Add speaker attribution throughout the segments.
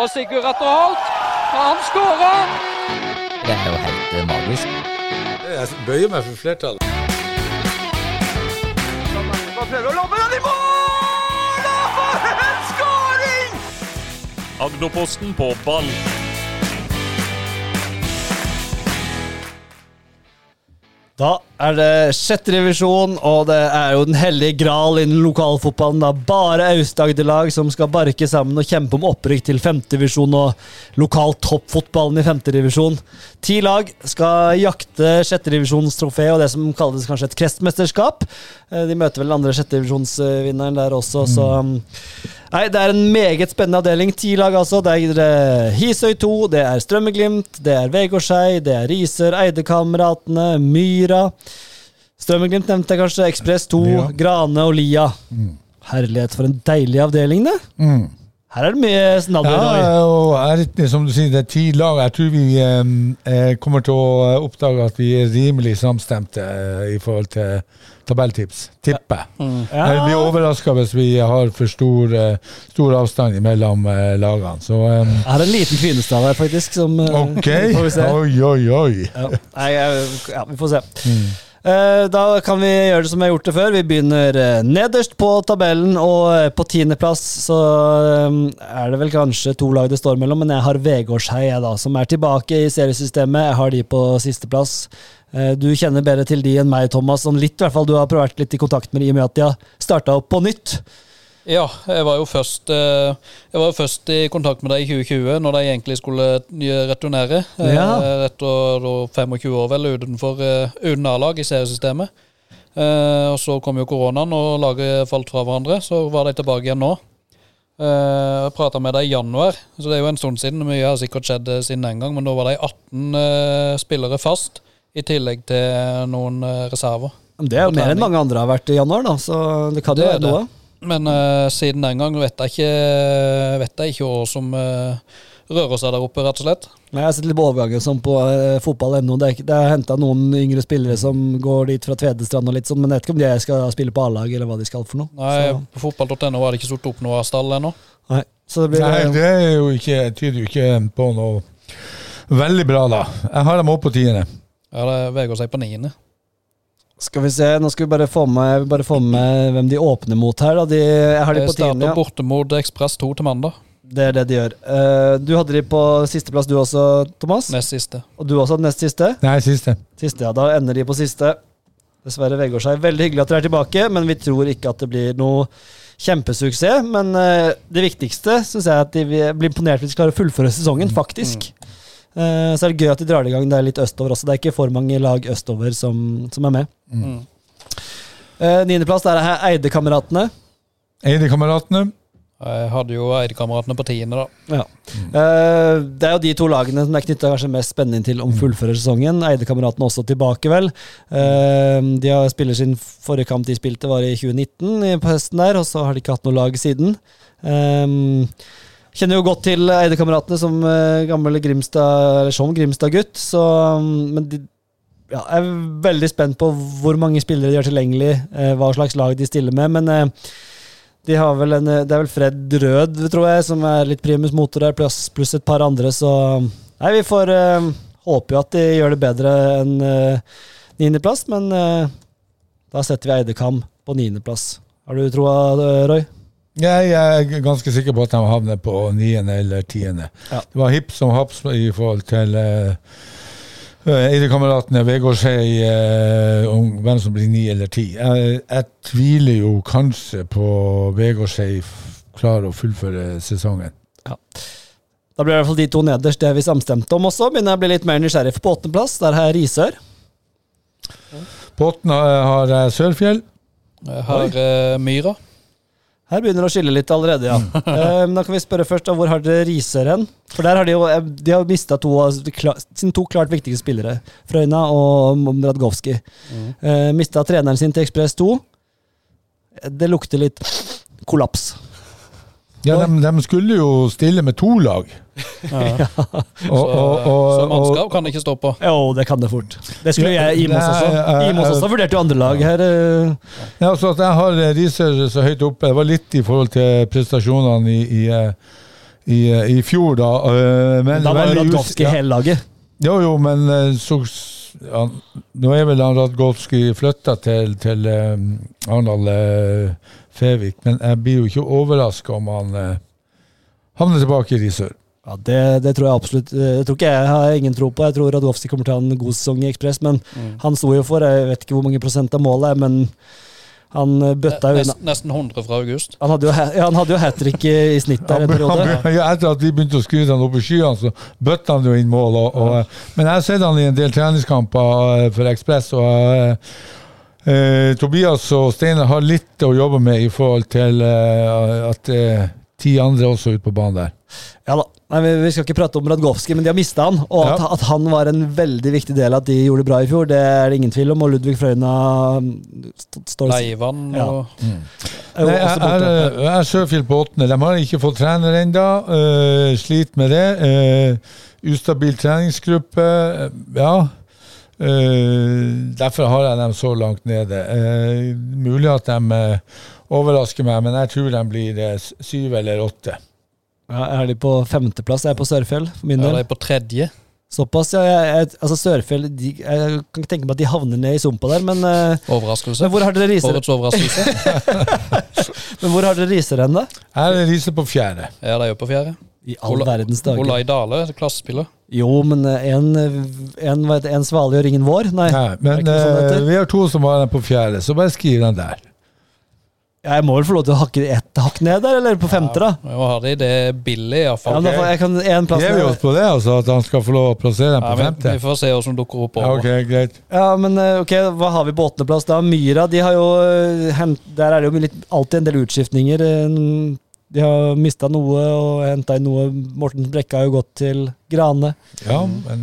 Speaker 1: og Sigurd Atter Holt. Og han skårer!
Speaker 2: Det er jo helt eh, magisk.
Speaker 3: Jeg bøyer meg for flertallet.
Speaker 4: Agderposten på ball.
Speaker 5: Da er det sjette revisjon, og det er jo den hellige gral innen lokalfotballen. Det er bare Aust-Agder-lag som skal barke sammen og kjempe om opprykk til femtedivisjon og lokal toppfotballen i femtedivisjon. Ti lag skal jakte sjetterevisjonstrofé og det som kalles kanskje et krestmesterskap. Eh, De møter vel den andre sjetterevisjonsvinneren der også, så
Speaker 6: Mm.
Speaker 5: um, Nei, det er en meget spennende avdeling. Ti lag, altså. Det er eh, Hisøy 2, det er Strømmeglimt, det er Vegårshei, det er Risør, Eidekameratene, Myra. Strømmeglimt nevnte jeg kanskje. Ekspress 2,
Speaker 6: Lia.
Speaker 5: Grane og Lia.
Speaker 6: Mm.
Speaker 5: Herlighet, for en deilig avdeling, det. Her er det mye snadder. Roy.
Speaker 6: Ja, og jeg er litt, som du sier, det er ti lag. Jeg tror vi eh, eh, kommer til å oppdage at vi er rimelig samstemte eh, i forhold til tabelltips. Tipper.
Speaker 5: Mm. Ja.
Speaker 6: Jeg blir overraska hvis vi har for stor, eh, stor avstand mellom eh, lagene. Så eh,
Speaker 5: Jeg har en liten kvinnestav her, faktisk. Som, eh,
Speaker 6: OK.
Speaker 5: får vi se.
Speaker 6: Oi, oi, oi.
Speaker 5: Ja. Nei, jeg- ja, vi får se.
Speaker 1: Mm.
Speaker 5: Eh, Da kan vi gjøre det som vi har gjort det før. Vi begynner eh, nederst på tabellen, og eh, på tiendeplass så eh, er det vel kanskje to lag det står mellom, men jeg har Vegårshei, jeg da, som er tilbake i seriesystemet. Jeg har de på sisteplass. Eh, Du kjenner bedre til de enn meg, Thomas. Sånn litt, i hvert fall. Du har vært litt i kontakt med de i og med at de har starta opp på nytt.
Speaker 1: Ja, jeg var jo først eh, Jeg var jo først i kontakt med deg i 2020, når de egentlig skulle nye returnere. eh,
Speaker 5: Ja.
Speaker 1: Rett og da 25 år, vel, utenfor eh, uten A-lag i seriesystemet. Eh, og så kom jo koronaen, og laget falt fra hverandre. Så var de tilbake igjen nå. Eh, Jeg Prata med dem i januar, så det er jo en stund siden. Mye har sikkert skjedd eh, siden den gang, men da var de 18 eh, spillere fast. I tillegg til noen eh, reserver.
Speaker 5: Men Det er jo
Speaker 1: På
Speaker 5: mer enn
Speaker 1: trening.
Speaker 5: mange andre har vært i januar, da, så det kan jo
Speaker 1: Det er
Speaker 5: være noe.
Speaker 1: Men eh, siden den gang vet jeg ikke, vet jeg ikke hva som eh, rører seg der oppe, rett og slett.
Speaker 5: Nei, Jeg har sett litt på overgangen sånn på eh, fotball.no. Det er, ikke- det er henta noen yngre spillere som går dit fra Tvedestrand og litt sånn, men jeg vet ikke om de skal spille på A-laget eller hva de skal for noe.
Speaker 1: Nei,
Speaker 5: Så,
Speaker 1: På fotball.no har det ikke satt opp noe av stall ennå.
Speaker 5: nei. så det blir eh,
Speaker 6: Nei, det er jo ikke, tyder jo ikke på noe veldig bra, da. Jeg har dem opp på tiende.
Speaker 1: Ja, det veger seg på niende.
Speaker 5: Skal vi se, nå skal vi bare få med, jeg vil bare få med hvem de åpner mot her. Da. De, jeg har de
Speaker 1: Jeg
Speaker 5: på tiende.
Speaker 1: starter
Speaker 5: Ja.
Speaker 1: Eh, borte mot Ekspress 2 til mandag.
Speaker 5: Det er det de gjør. Eh, du hadde de på sisteplass du også, Thomas.
Speaker 1: Nest siste.
Speaker 5: Og du også nest siste.
Speaker 6: Nei, siste.
Speaker 5: Siste, ja. Da ender de på siste. Dessverre Vegårs er veldig hyggelig at dere er tilbake, men vi tror ikke at det blir noe kjempesuksess. Men eh, det viktigste syns jeg er at de vil- blir imponert hvis de klarer å fullføre sesongen, faktisk. Eh, så er det gøy at de drar det i gang. Det er litt østover også. Det er ikke for mange lag østover som, som er med.
Speaker 1: Mm.
Speaker 5: Eh, Niendeplass, der er her Eidekameratene.
Speaker 6: Eidekameratene.
Speaker 1: Jeg hadde jo Eidekameratene på tiende, da.
Speaker 5: Ja. Eh, det er jo de to lagene som er knytta mest spennende til om fullfører sesongen. Eidekameratene også tilbake, vel. Eh, de har spiller sin forrige kamp de spilte, var i 2019, i- på høsten der, og så har de ikke hatt noe lag siden. Eh, kjenner jo godt til Eidekameratene som eh, gammel Grimstad, eller som Grimstad-gutt, så mm, Men de ja, jeg er veldig spent på hvor mange spillere de har tilgjengelig, eh, hva slags lag de stiller med, men eh, de har vel en, eh, det er vel Fred Rød, tror jeg, som er litt primus motor der, pluss, pluss et par andre, så Nei, vi får eh, håpe jo at de gjør det bedre enn uh, niendeplass, men eh, da setter vi Eidekam på niendeplass. Har du troa, eh, Roy?
Speaker 6: Jeg er ganske sikker på at de havner på niende eller tiende.
Speaker 5: Ja.
Speaker 6: Det var hipp som haps i forhold til eh, Eidekameratene Vegårshei, eh, om hvem som blir ni eller ti. Jeg, jeg tviler jo kanskje på Vegårshei f- klarer å fullføre sesongen.
Speaker 5: Da blir det i hvert fall de to nederst, det er vi samstemte om også. Begynner jeg å bli litt mer nysgjerrig, for på åttendeplass der har jeg Risør.
Speaker 6: På åttende eh, har jeg Sørfjell.
Speaker 1: Jeg har eh, Myra.
Speaker 5: Her begynner det å skille litt allerede, ja. Eh, men da kan vi spørre først, da, hvor har dere Risør hen? For der har de jo eh, de har mista to av de kla- sine to klart viktigste spillere. Frøyna og Mradgovski. Mm. mista treneren sin til Ekspress 2. Eh, Det lukter litt kollaps.
Speaker 6: Ja, de, de skulle jo stille med to lag. Og,
Speaker 1: Så, eh,
Speaker 6: og, og,
Speaker 1: så
Speaker 6: og,
Speaker 1: mannskap kan ikke stå på.
Speaker 5: Jo, det kan det fort. Det skulle
Speaker 6: Ja,
Speaker 5: jeg Imos
Speaker 6: nei,
Speaker 5: også.
Speaker 6: eh,
Speaker 5: Imos også vurderte jo andre lag her. eh.
Speaker 6: Ja, altså at jeg har eh, Risør så høyt oppe. Det var litt i forhold til prestasjonene i, i, eh, i, eh, i fjor, da. eh, Men
Speaker 5: Da var jo
Speaker 6: veldig us-
Speaker 5: Radkowski
Speaker 6: ja.
Speaker 5: hele laget.
Speaker 6: Jo, jo, men eh, så s- ja, Nå er vel han Radgolskij flytta til, til eh, Arendal eh, Fevik, men jeg blir jo ikke overraska om han eh, havner tilbake i Risør.
Speaker 5: Ja, det, det tror jeg absolutt Jeg tror ikke jeg jeg har ingen tro på. Jeg tror Radowski kommer til å ha en god sesong i Ekspress, men han sto jo for Jeg vet ikke hvor mange prosent av målet er, men han eh, bøtta jo unna.
Speaker 1: Nesten, nesten 100 fra august.
Speaker 5: Han hadde jo, ha- ja, han hadde jo hat trick i, i snitt der
Speaker 6: Han,
Speaker 5: en
Speaker 6: be- han,
Speaker 5: periode.
Speaker 6: be- ja, etter at de begynte å skryte han opp i skyene, så bøtte han jo inn mål. Og, og, eh, Men jeg har sett han i en del treningskamper eh, for Ekspress, og eh, eh, Tobias og Steinar har litt å jobbe med i forhold til eh, at eh, ti andre også er ute på banen der.
Speaker 5: Ja da. Nei, vi, vi skal ikke prate om Radgowski, men de har mista han. Og at,
Speaker 6: Ja.
Speaker 5: at han var en veldig viktig del av at de gjorde det bra i fjor, det er det ingen tvil om. Og Ludvig Frøyna mm, st står
Speaker 1: Leivann
Speaker 5: Ja.
Speaker 1: og
Speaker 5: er jo
Speaker 6: Nei,
Speaker 5: også
Speaker 6: jeg,
Speaker 5: borte.
Speaker 6: jeg, jeg er Sørfield på åttende. De har ikke fått trener ennå. Uh, sliter med det. Eh, ustabil treningsgruppe. eh, Ja. Eh, derfor har jeg dem så langt nede. Eh, mulig at de eh, overrasker meg, men jeg tror de blir eh, s- syv eller åtte.
Speaker 5: Ja, jeg er de på femteplass? Jeg er på Sørfjell, for min
Speaker 1: ja,
Speaker 5: del.
Speaker 1: de er på tredje.
Speaker 5: Såpass, ja. Jeg, jeg, altså Sørfjell de, Jeg kan ikke tenke meg at de havner ned i sumpa der, men, eh,
Speaker 1: Overraskelse.
Speaker 5: men hvor har dere Riser,
Speaker 1: Årets overraskelse.
Speaker 5: men hvor har dere riser hen, da?
Speaker 6: Her er Riise på fjerde.
Speaker 1: Ja, de er jo på fjerde.
Speaker 5: I all
Speaker 1: Ola-
Speaker 5: verdens dager.
Speaker 1: Olai Dale, klassespiller.
Speaker 5: Jo, men eh, en, en, hva heter det, en svale gjør ingen vår. Nei.
Speaker 6: Nei,
Speaker 5: er ikke
Speaker 6: men
Speaker 5: det sånn det
Speaker 6: eh,
Speaker 5: heter?
Speaker 6: vi har to som har dem på fjerde, så bare skriv den der.
Speaker 5: Jeg må vel få lov til å hakke ett hakk ned der, eller på femte, da?
Speaker 1: Vi må ha det i det billig,
Speaker 5: Ja,
Speaker 1: iallfall.
Speaker 5: men da får jeg kan en plass
Speaker 6: Gir vi
Speaker 5: ned.
Speaker 6: oss på det, altså? At han skal få lov å plassere dem
Speaker 1: Ja,
Speaker 6: på
Speaker 1: vi,
Speaker 6: femte?
Speaker 1: vi får se hva som dukker opp.
Speaker 6: Ja,
Speaker 1: over.
Speaker 6: ok, greit.
Speaker 5: Ja, men eh, ok, hva har vi på åttendeplass da? Myra, de har jo eh, hent, Der er det jo litt, alltid en del utskiftninger. eh, De har mista noe og henta inn noe. Morten Brekka har jo gått til Grane.
Speaker 6: Ja,
Speaker 1: Mm.
Speaker 6: men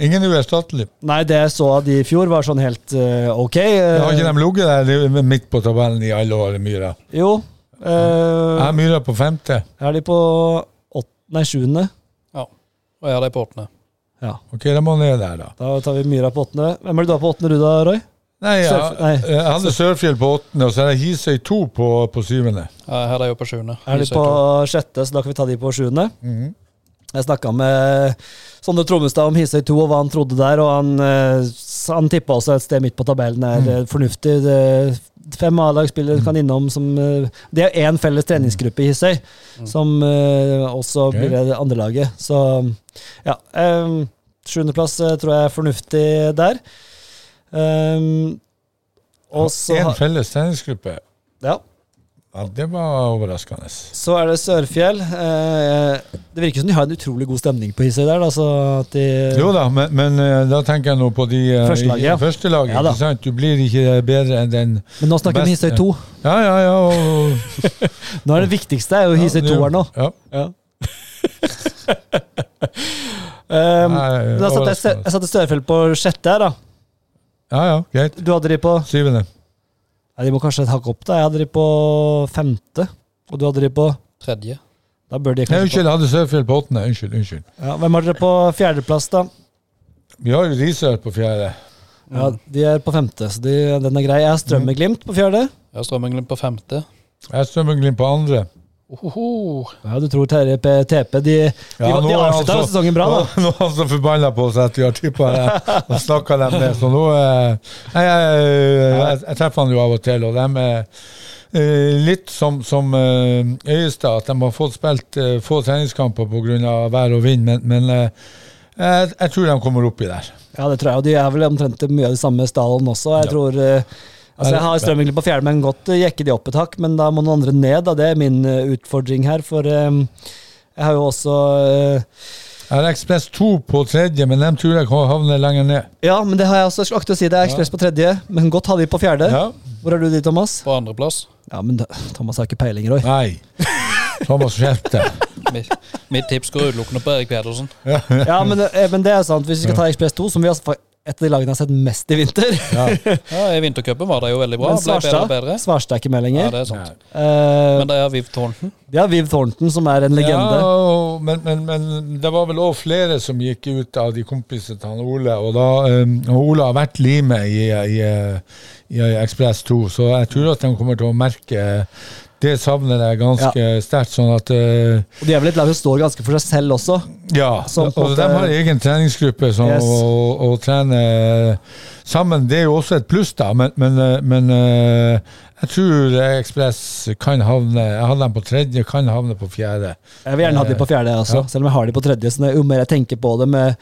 Speaker 6: ingen er uerstattelig.
Speaker 5: Nei, det jeg så av de i fjor, var sånn helt eh, ok. eh,
Speaker 6: Men Har ikke de ligget der det er midt på tabellen i alle år, Myra?
Speaker 5: jo. eh,
Speaker 6: Er Myra på femte?
Speaker 5: er de på ått, nei, sjuende?
Speaker 1: Og jeg har de på åttende.
Speaker 5: Ja.
Speaker 6: Ok, de må ned der, da.
Speaker 5: Da tar vi Myra på åttende. Hvem er det du har på åttende, du da, Roy?
Speaker 6: Nei, ja, eh,
Speaker 5: Sørf- nei.
Speaker 6: jeg hadde Sørfjell på åttende, og så er det Hisøy to på, på syvende.
Speaker 1: Ja, her er de jo på sjuende.
Speaker 5: Er de
Speaker 1: Isøy
Speaker 5: på
Speaker 1: to.
Speaker 5: sjette, så da kan vi ta de på sjuende.
Speaker 6: Mhm.
Speaker 5: Jeg snakka med Sondre Trommestad om Hisøy 2 og hva han trodde der, og han, eh, s- han tippa også et sted midt på tabellen
Speaker 6: Mm.
Speaker 5: er eh, fornuftig. Det, fem A-lagsspillere kan innom som eh, Det er én felles treningsgruppe i Hisøy, som eh, også
Speaker 6: Mm. Ok.
Speaker 5: blir det andre laget. Så ja. eh, Sjuendeplass eh, tror jeg er fornuftig der. Eh, og så
Speaker 6: En
Speaker 5: har-
Speaker 6: felles treningsgruppe.
Speaker 5: ja.
Speaker 6: Ja, det var overraskende.
Speaker 5: Så er det Sørfjell. Eh, det virker som de har en utrolig god stemning på Hisøy der. Da, så at de,
Speaker 6: Jo da, men, men eh, da tenker jeg nå på de eh,
Speaker 5: Første laget, ja.
Speaker 6: i- første laget,
Speaker 5: Ja da.
Speaker 6: ikke sant? Du blir ikke bedre enn den
Speaker 5: men nå snakker vi om
Speaker 6: Best-
Speaker 5: Hisøy 2.
Speaker 6: Ja, ja, ja. Og,
Speaker 5: Nå er det viktigste er jo Hisøy 2 her nå.
Speaker 6: Ja.
Speaker 5: Um,
Speaker 6: Nei,
Speaker 5: men da satte jeg, Sø-
Speaker 6: overraskende.
Speaker 5: jeg satte Sørfjell på sjette her, da.
Speaker 6: ja, ja, greit.
Speaker 5: Du hadde de på
Speaker 6: Syvende.
Speaker 5: Nei, De må kanskje et hakk opp, da. Jeg hadde de på femte. Og du hadde de på
Speaker 1: Tredje.
Speaker 5: Da bør de
Speaker 6: Nei,
Speaker 5: kanskje på.
Speaker 6: unnskyld, jeg hadde Sørfjell på åttende. Unnskyld, unnskyld.
Speaker 5: Ja, Hvem har dere på fjerdeplass, da?
Speaker 6: Vi har jo Risør på fjerde.
Speaker 5: Ja, De er på femte, så de, den er grei. Jeg har
Speaker 6: Mm.
Speaker 5: Strømmeglimt på fjerde.
Speaker 1: Jeg har Strømmenglimt på femte.
Speaker 6: Jeg har Strømmeglimt på andre.
Speaker 1: Ohoho.
Speaker 5: Ja, Du tror Terje P. TP De, de,
Speaker 6: Ja,
Speaker 5: de,
Speaker 6: nå er altså- han
Speaker 5: avslutta jo
Speaker 6: så-
Speaker 5: sesongen bra, da.
Speaker 6: Nå nå er han så forbanna på seg at vi har tippa det og snakka dem ned, så nå eh, Nei, jeg, eh, jeg, jeg treffer han jo av og til, og de er eh, litt som, som eh, Øyestad, at de har fått spilt eh, få treningskamper pga. vær og vind, men, men eh, jeg, jeg tror de kommer oppi der.
Speaker 5: Ja, det tror jeg. Og de er vel omtrent mye av de samme stallen også. Jeg
Speaker 6: Ja.
Speaker 5: tror eh,
Speaker 6: Er
Speaker 5: Altså,
Speaker 6: det-
Speaker 5: jeg har Strøm egentlig på fjerde, men godt eh, jekke de opp et hakk. Men da må noen andre ned, da. Det er min eh, utfordring her, for eh, jeg har jo også eh,
Speaker 6: Jeg har Ekspress 2 på tredje, men de tror jeg kan havne lenger ned.
Speaker 5: Ja, men det har jeg også. Jeg skulle akkurat å si det er Ekspress på tredje, men godt hadde de på fjerde. Hvor er du de, Thomas?
Speaker 1: På andreplass.
Speaker 5: Ja, men da, Thomas har ikke peiling, Roy.
Speaker 6: Nei. Thomas Fjerte.
Speaker 1: Mitt, mitt tips går utelukkende på Erik Pedersen.
Speaker 5: Ja, men, eh, men det er sant. Hvis vi skal ta Ekspress 2, som vi har et av de lagene jeg har sett mest i vinter
Speaker 1: Ja, I vintercupen var de jo veldig bra. Ble
Speaker 5: Men
Speaker 1: bedre
Speaker 5: Svarstad,
Speaker 1: og bedre.
Speaker 5: Svarstad er ikke med
Speaker 1: Ja,
Speaker 5: lenger.
Speaker 1: det er sant.
Speaker 5: Eh,
Speaker 1: Men det er Viv Thornton.
Speaker 5: de har Viv Thornton, som er en legende.
Speaker 6: Ja, og- men, men, men det var vel òg flere som gikk ut av de kompisene til han Ole. Og, da, eh, og Ole har vært limet i, i, eh, i Ekspress 2, så jeg tror at de kommer til å merke Det savner jeg ganske sterkt. Sånn at eh,
Speaker 5: Og de er vel et lag som står ganske for seg selv også.
Speaker 6: Ja,
Speaker 5: Som på en
Speaker 6: og de
Speaker 5: måte-
Speaker 6: har egen treningsgruppe som,
Speaker 5: eh, Yes.
Speaker 6: og, og trener sammen. Det er jo også et pluss, da, men, men, eh, men eh, jeg tror Ekspress kan havne Jeg hadde dem på tredje, kan havne på fjerde.
Speaker 5: Jeg vil gjerne ha de på fjerde også,
Speaker 6: Ja.
Speaker 5: selv om jeg har de på tredje. Så jo mer jeg tenker på det med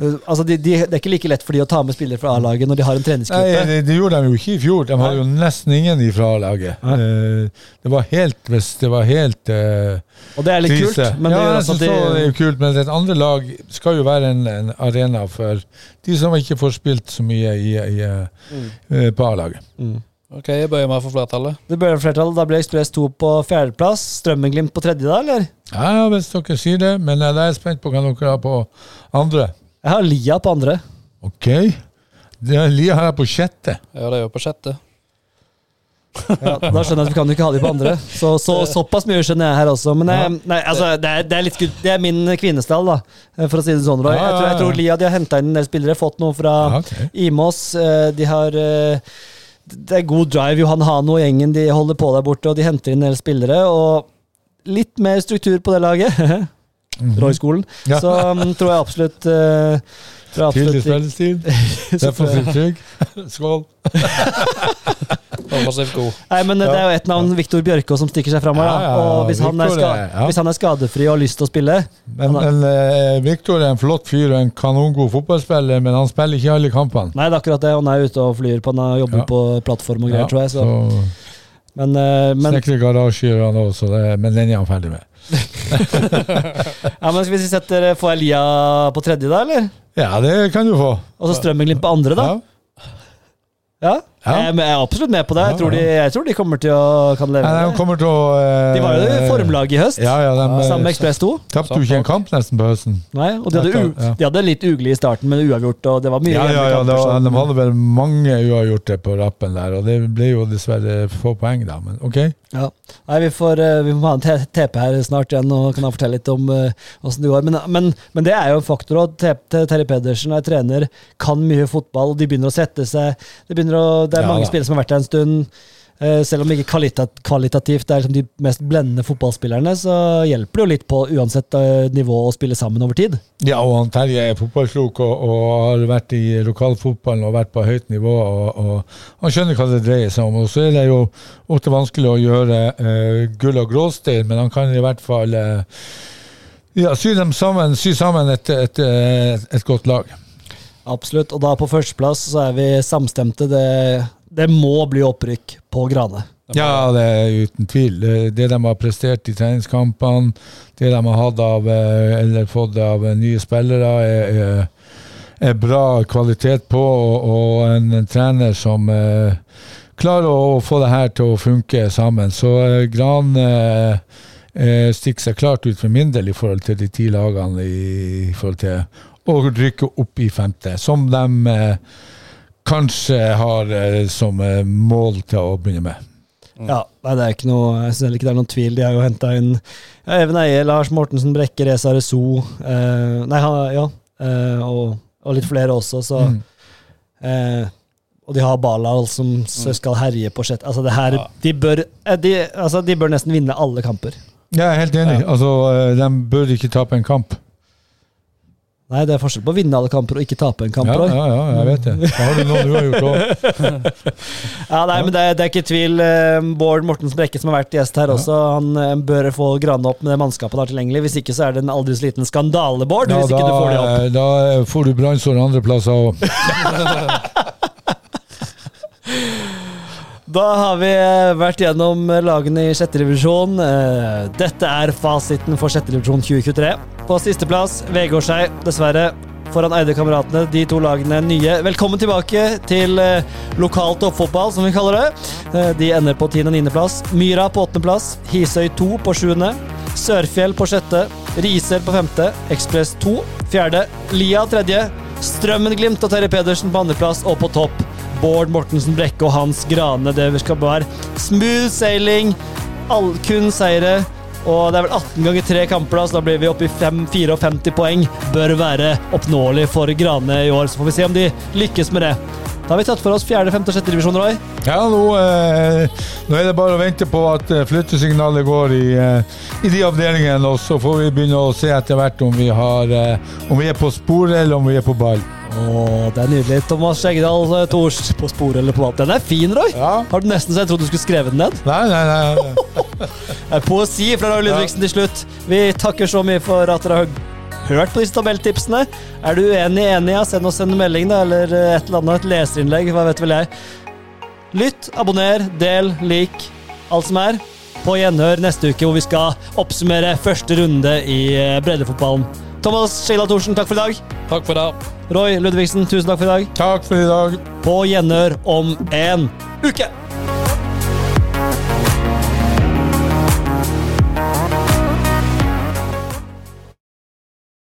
Speaker 5: eh, Altså, de, de, Det er ikke like lett for de å ta med spillere fra A-laget når de har en
Speaker 6: Nei,
Speaker 5: treningsgruppe.
Speaker 6: det, det gjorde de jo ikke i fjor. De hadde jo nesten ingen ifra laget.
Speaker 5: Nei.
Speaker 6: Eh, Det var helt hvis Det var helt eh,
Speaker 5: Og det er litt kult,
Speaker 6: krise.
Speaker 5: men det
Speaker 6: ja,
Speaker 5: gjør
Speaker 6: jeg synes
Speaker 5: også at de
Speaker 6: også det er jo kult, men et andre lag skal jo være en, en arena for de som ikke får spilt så mye i, i,
Speaker 5: Mm.
Speaker 6: eh, på A-laget.
Speaker 1: OK, jeg bøyer meg for flertallet.
Speaker 5: Det ble flertallet, Da ble Ekspress 2 på fjerdeplass. Strømmenglimt på tredje, da, eller?
Speaker 6: Ja, ja, hvis dere sier det, men jeg er spent på hva dere har på andre.
Speaker 5: Jeg har Lia på andre.
Speaker 6: Ok. Det Lia har jeg på sjette.
Speaker 1: Ja, det er jo på sjette.
Speaker 5: Ja, da skjønner jeg at vi kan jo ikke ha de på andre. Så, så såpass mye skjønner jeg her også. Men jeg, nei, altså, det, er, det, er litt, skudd- det er min kvinnestall, da, for å si det sånn. Roy.
Speaker 6: Ja,
Speaker 5: Jeg
Speaker 6: ja,
Speaker 5: tror, jeg
Speaker 6: ja.
Speaker 5: tror Lia de har henta inn en del spillere, fått noe fra
Speaker 6: Ja, ok.
Speaker 5: Imås. eh, De har eh, Det er god drive. Johan Hano og gjengen de holder på der borte, og de henter inn en del spillere. og Litt mer struktur på det laget, Roy-skolen,
Speaker 6: Ja.
Speaker 5: så mm, tror jeg absolutt eh,
Speaker 6: Mhm.
Speaker 5: tror jeg
Speaker 6: Tidlig
Speaker 5: absolutt
Speaker 6: spillestil. Defensivt trygg. Skål.
Speaker 1: Offensivt god.
Speaker 5: Nei, men eh, Det er jo ett navn, Viktor Bjørkå, som stikker seg framover.
Speaker 6: Ja,
Speaker 5: da.
Speaker 6: ja, ja.
Speaker 5: Og hvis han, er
Speaker 6: Victor
Speaker 5: ska
Speaker 6: er- ja.
Speaker 5: hvis han er skadefri og har lyst til å spille
Speaker 6: Men, men eh, Victor er en flott fyr og en kanongod fotballspiller, men han spiller ikke alle kampene.
Speaker 5: Nei, det er akkurat det. Han er ute og flyr på, han jobber
Speaker 6: Ja.
Speaker 5: på plattform og greier,
Speaker 6: Ja,
Speaker 5: tror jeg. Så.
Speaker 6: så
Speaker 5: Men, eh, men,
Speaker 6: Snekrer garasje gjør han også, det, men den er han ferdig med.
Speaker 5: ja, men skal vi si setter eh, Får jeg Lia på tredje, da, eller?
Speaker 6: Ja, det kan du få.
Speaker 5: Og så Strømmenglimt på andre, da?
Speaker 6: Ja.
Speaker 5: Ja.
Speaker 6: Ja.
Speaker 5: Jeg, er med- Eh, jeg er absolutt med på det. Jeg tror, de, jeg tror de kommer til å kan leve
Speaker 6: Nei, de
Speaker 5: med det.
Speaker 6: kommer til å eh,
Speaker 5: De var jo i formlaget i høst,
Speaker 6: Ja, ja, de
Speaker 5: sammen
Speaker 6: eh,
Speaker 5: med Ekspress 2.
Speaker 6: tapte jo ikke en kamp nesten på høsten.
Speaker 5: Nei, og de hadde, u
Speaker 6: Ja.
Speaker 5: de hadde litt ugle i starten, men uavgjort, og det var mye
Speaker 6: Ja, ja, ja,
Speaker 5: hjemmekamper,
Speaker 6: det var,
Speaker 5: så-
Speaker 6: de hadde vel mange uavgjorte på rappen der, og det ble jo dessverre få poeng, da, men OK.
Speaker 5: Ja. Nei, vi, får, eh, vi må ha en te- TP her snart igjen, og kan han fortelle litt om eh, åssen det går. Men, men, men det er jo en faktor at Te- Te- Terje Pedersen er trener, kan mye fotball, de begynner å sette seg. Det, begynner å, det er
Speaker 6: Ja,
Speaker 5: mange
Speaker 6: da.
Speaker 5: spillere som har vært der en stund. Eh, Selv om det ikke kvalita kvalitativt det er liksom de mest blendende fotballspillerne, så hjelper det jo litt på uansett eh, nivå å spille sammen over tid.
Speaker 6: Ja, og han Terje er fotballklok og, og har vært i lokalfotballen og vært på høyt nivå. Og, og Han skjønner hva det dreier seg om. Og Så er det jo ofte vanskelig å gjøre eh, gull og gråstein, men han kan i hvert fall eh, ja, sy, dem sammen, sy sammen et, et, eh, et godt lag.
Speaker 5: Absolutt. Og da på førsteplass så er vi samstemte. Det, det må bli opprykk på Grane.
Speaker 6: Ja, det er uten tvil. Eh, Det de har prestert i treningskampene, det de har hatt av, eh, eller fått av eh, nye spillere, er, er, eh, er bra kvalitet på, og, og en, en trener som eh, klarer å få det her til å funke sammen. Så eh, Gran eh, eh, stikker seg klart ut for min del i forhold til de ti lagene i, i forhold til å rykke opp i femte, som de eh, kanskje har eh, som eh, mål til å begynne med.
Speaker 5: Ja, nei, det er ikke noe, jeg synes heller ikke det er noen tvil. De har jo henta inn ja, Even Eie, Lars Mortensen Brekke, Reza Rezo eh, Nei, han, ja. Eh, og, og litt flere også, så
Speaker 6: Mm.
Speaker 5: eh, Og de har Balal som s-
Speaker 6: Mm.
Speaker 5: skal herje på sjette. Altså, det her de, bør, eh, de, altså, de bør nesten vinne alle kamper.
Speaker 6: Ja, jeg er helt enig. Altså, eh, de bør ikke tape en kamp.
Speaker 5: Nei, det er forskjell på å vinne alle kamper og ikke tape en kamp.
Speaker 6: Ja,
Speaker 5: Roy.
Speaker 6: ja, ja, jeg vet det. Da har du noen uavgjort òg.
Speaker 5: Ja, nei, men det, er- det er ikke tvil. Eh, Bård Mortens Brekke, som har vært gjest her også, han eh, bør få Grane opp med det mannskapet han har tilgjengelig. Hvis ikke så er det en aldri så liten skandale, Bård.
Speaker 6: Ja,
Speaker 5: hvis ikke du får det opp.
Speaker 6: da, eh, da får du brannsår andre plasser òg.
Speaker 5: Da har vi eh, vært gjennom eh, lagene i sjette divisjon. Eh, Dette er fasiten for sjette divisjon 2023. På sisteplass Vegårshei, dessverre. Foran Eide-kameratene, de to lagene nye. Velkommen tilbake til eh, lokal toppfotball, som vi kaller det. Eh, De ender på tiende- og niendeplass. Myra på åttendeplass. Hisøy 2 på sjuende. Sørfjell på sjette. Risør på femte. Ekspress 2 fjerde. Lia tredje. Strømmen-Glimt og Terje Pedersen på andreplass og på topp. Bård Mortensen Brekke og Hans Grane. Det skal være smooth sailing, all, kun seire. Og det er vel 18 ganger tre kamper, da, så da blir vi oppe i fem- 54 poeng. Bør være oppnåelig for Grane i år. Så får vi se om de lykkes med det. Da har vi tatt for oss fjerde, femte og sjette divisjon, Roy.
Speaker 6: Ja, nå, eh, nå er det bare å vente på at eh, flyttesignalet går i, eh, i de avdelingene, og så får vi begynne å se etter hvert om vi, har, eh, om vi er på sporet eller om vi er på ball.
Speaker 5: Åh, det er nydelig. Thomas Skjeggedal eh, Thors på sporet eller på ball. Den er fin, Roy!
Speaker 6: Ja.
Speaker 5: Har du nesten så jeg trodde du skulle skrevet den ned?
Speaker 6: Nei, nei, nei. nei.
Speaker 5: Det er poesi fra Roy Ludvigsen til slutt. Vi takker så mye for at dere har hørt på disse tabelltipsene. Er du uenig, enig, ja, send oss en melding, da, eller eh, et eller annet, et leserinnlegg, hva vet vel jeg. Lytt, abonner, del, lik, alt som er. På gjenhør neste uke, hvor vi skal oppsummere første runde i eh, breddefotballen. Thomas Skjeggedal Thorsen, takk for i dag.
Speaker 1: Takk for i dag.
Speaker 5: Roy Ludvigsen, tusen takk for i dag.
Speaker 6: Takk for i dag.
Speaker 5: På gjenhør om en uke!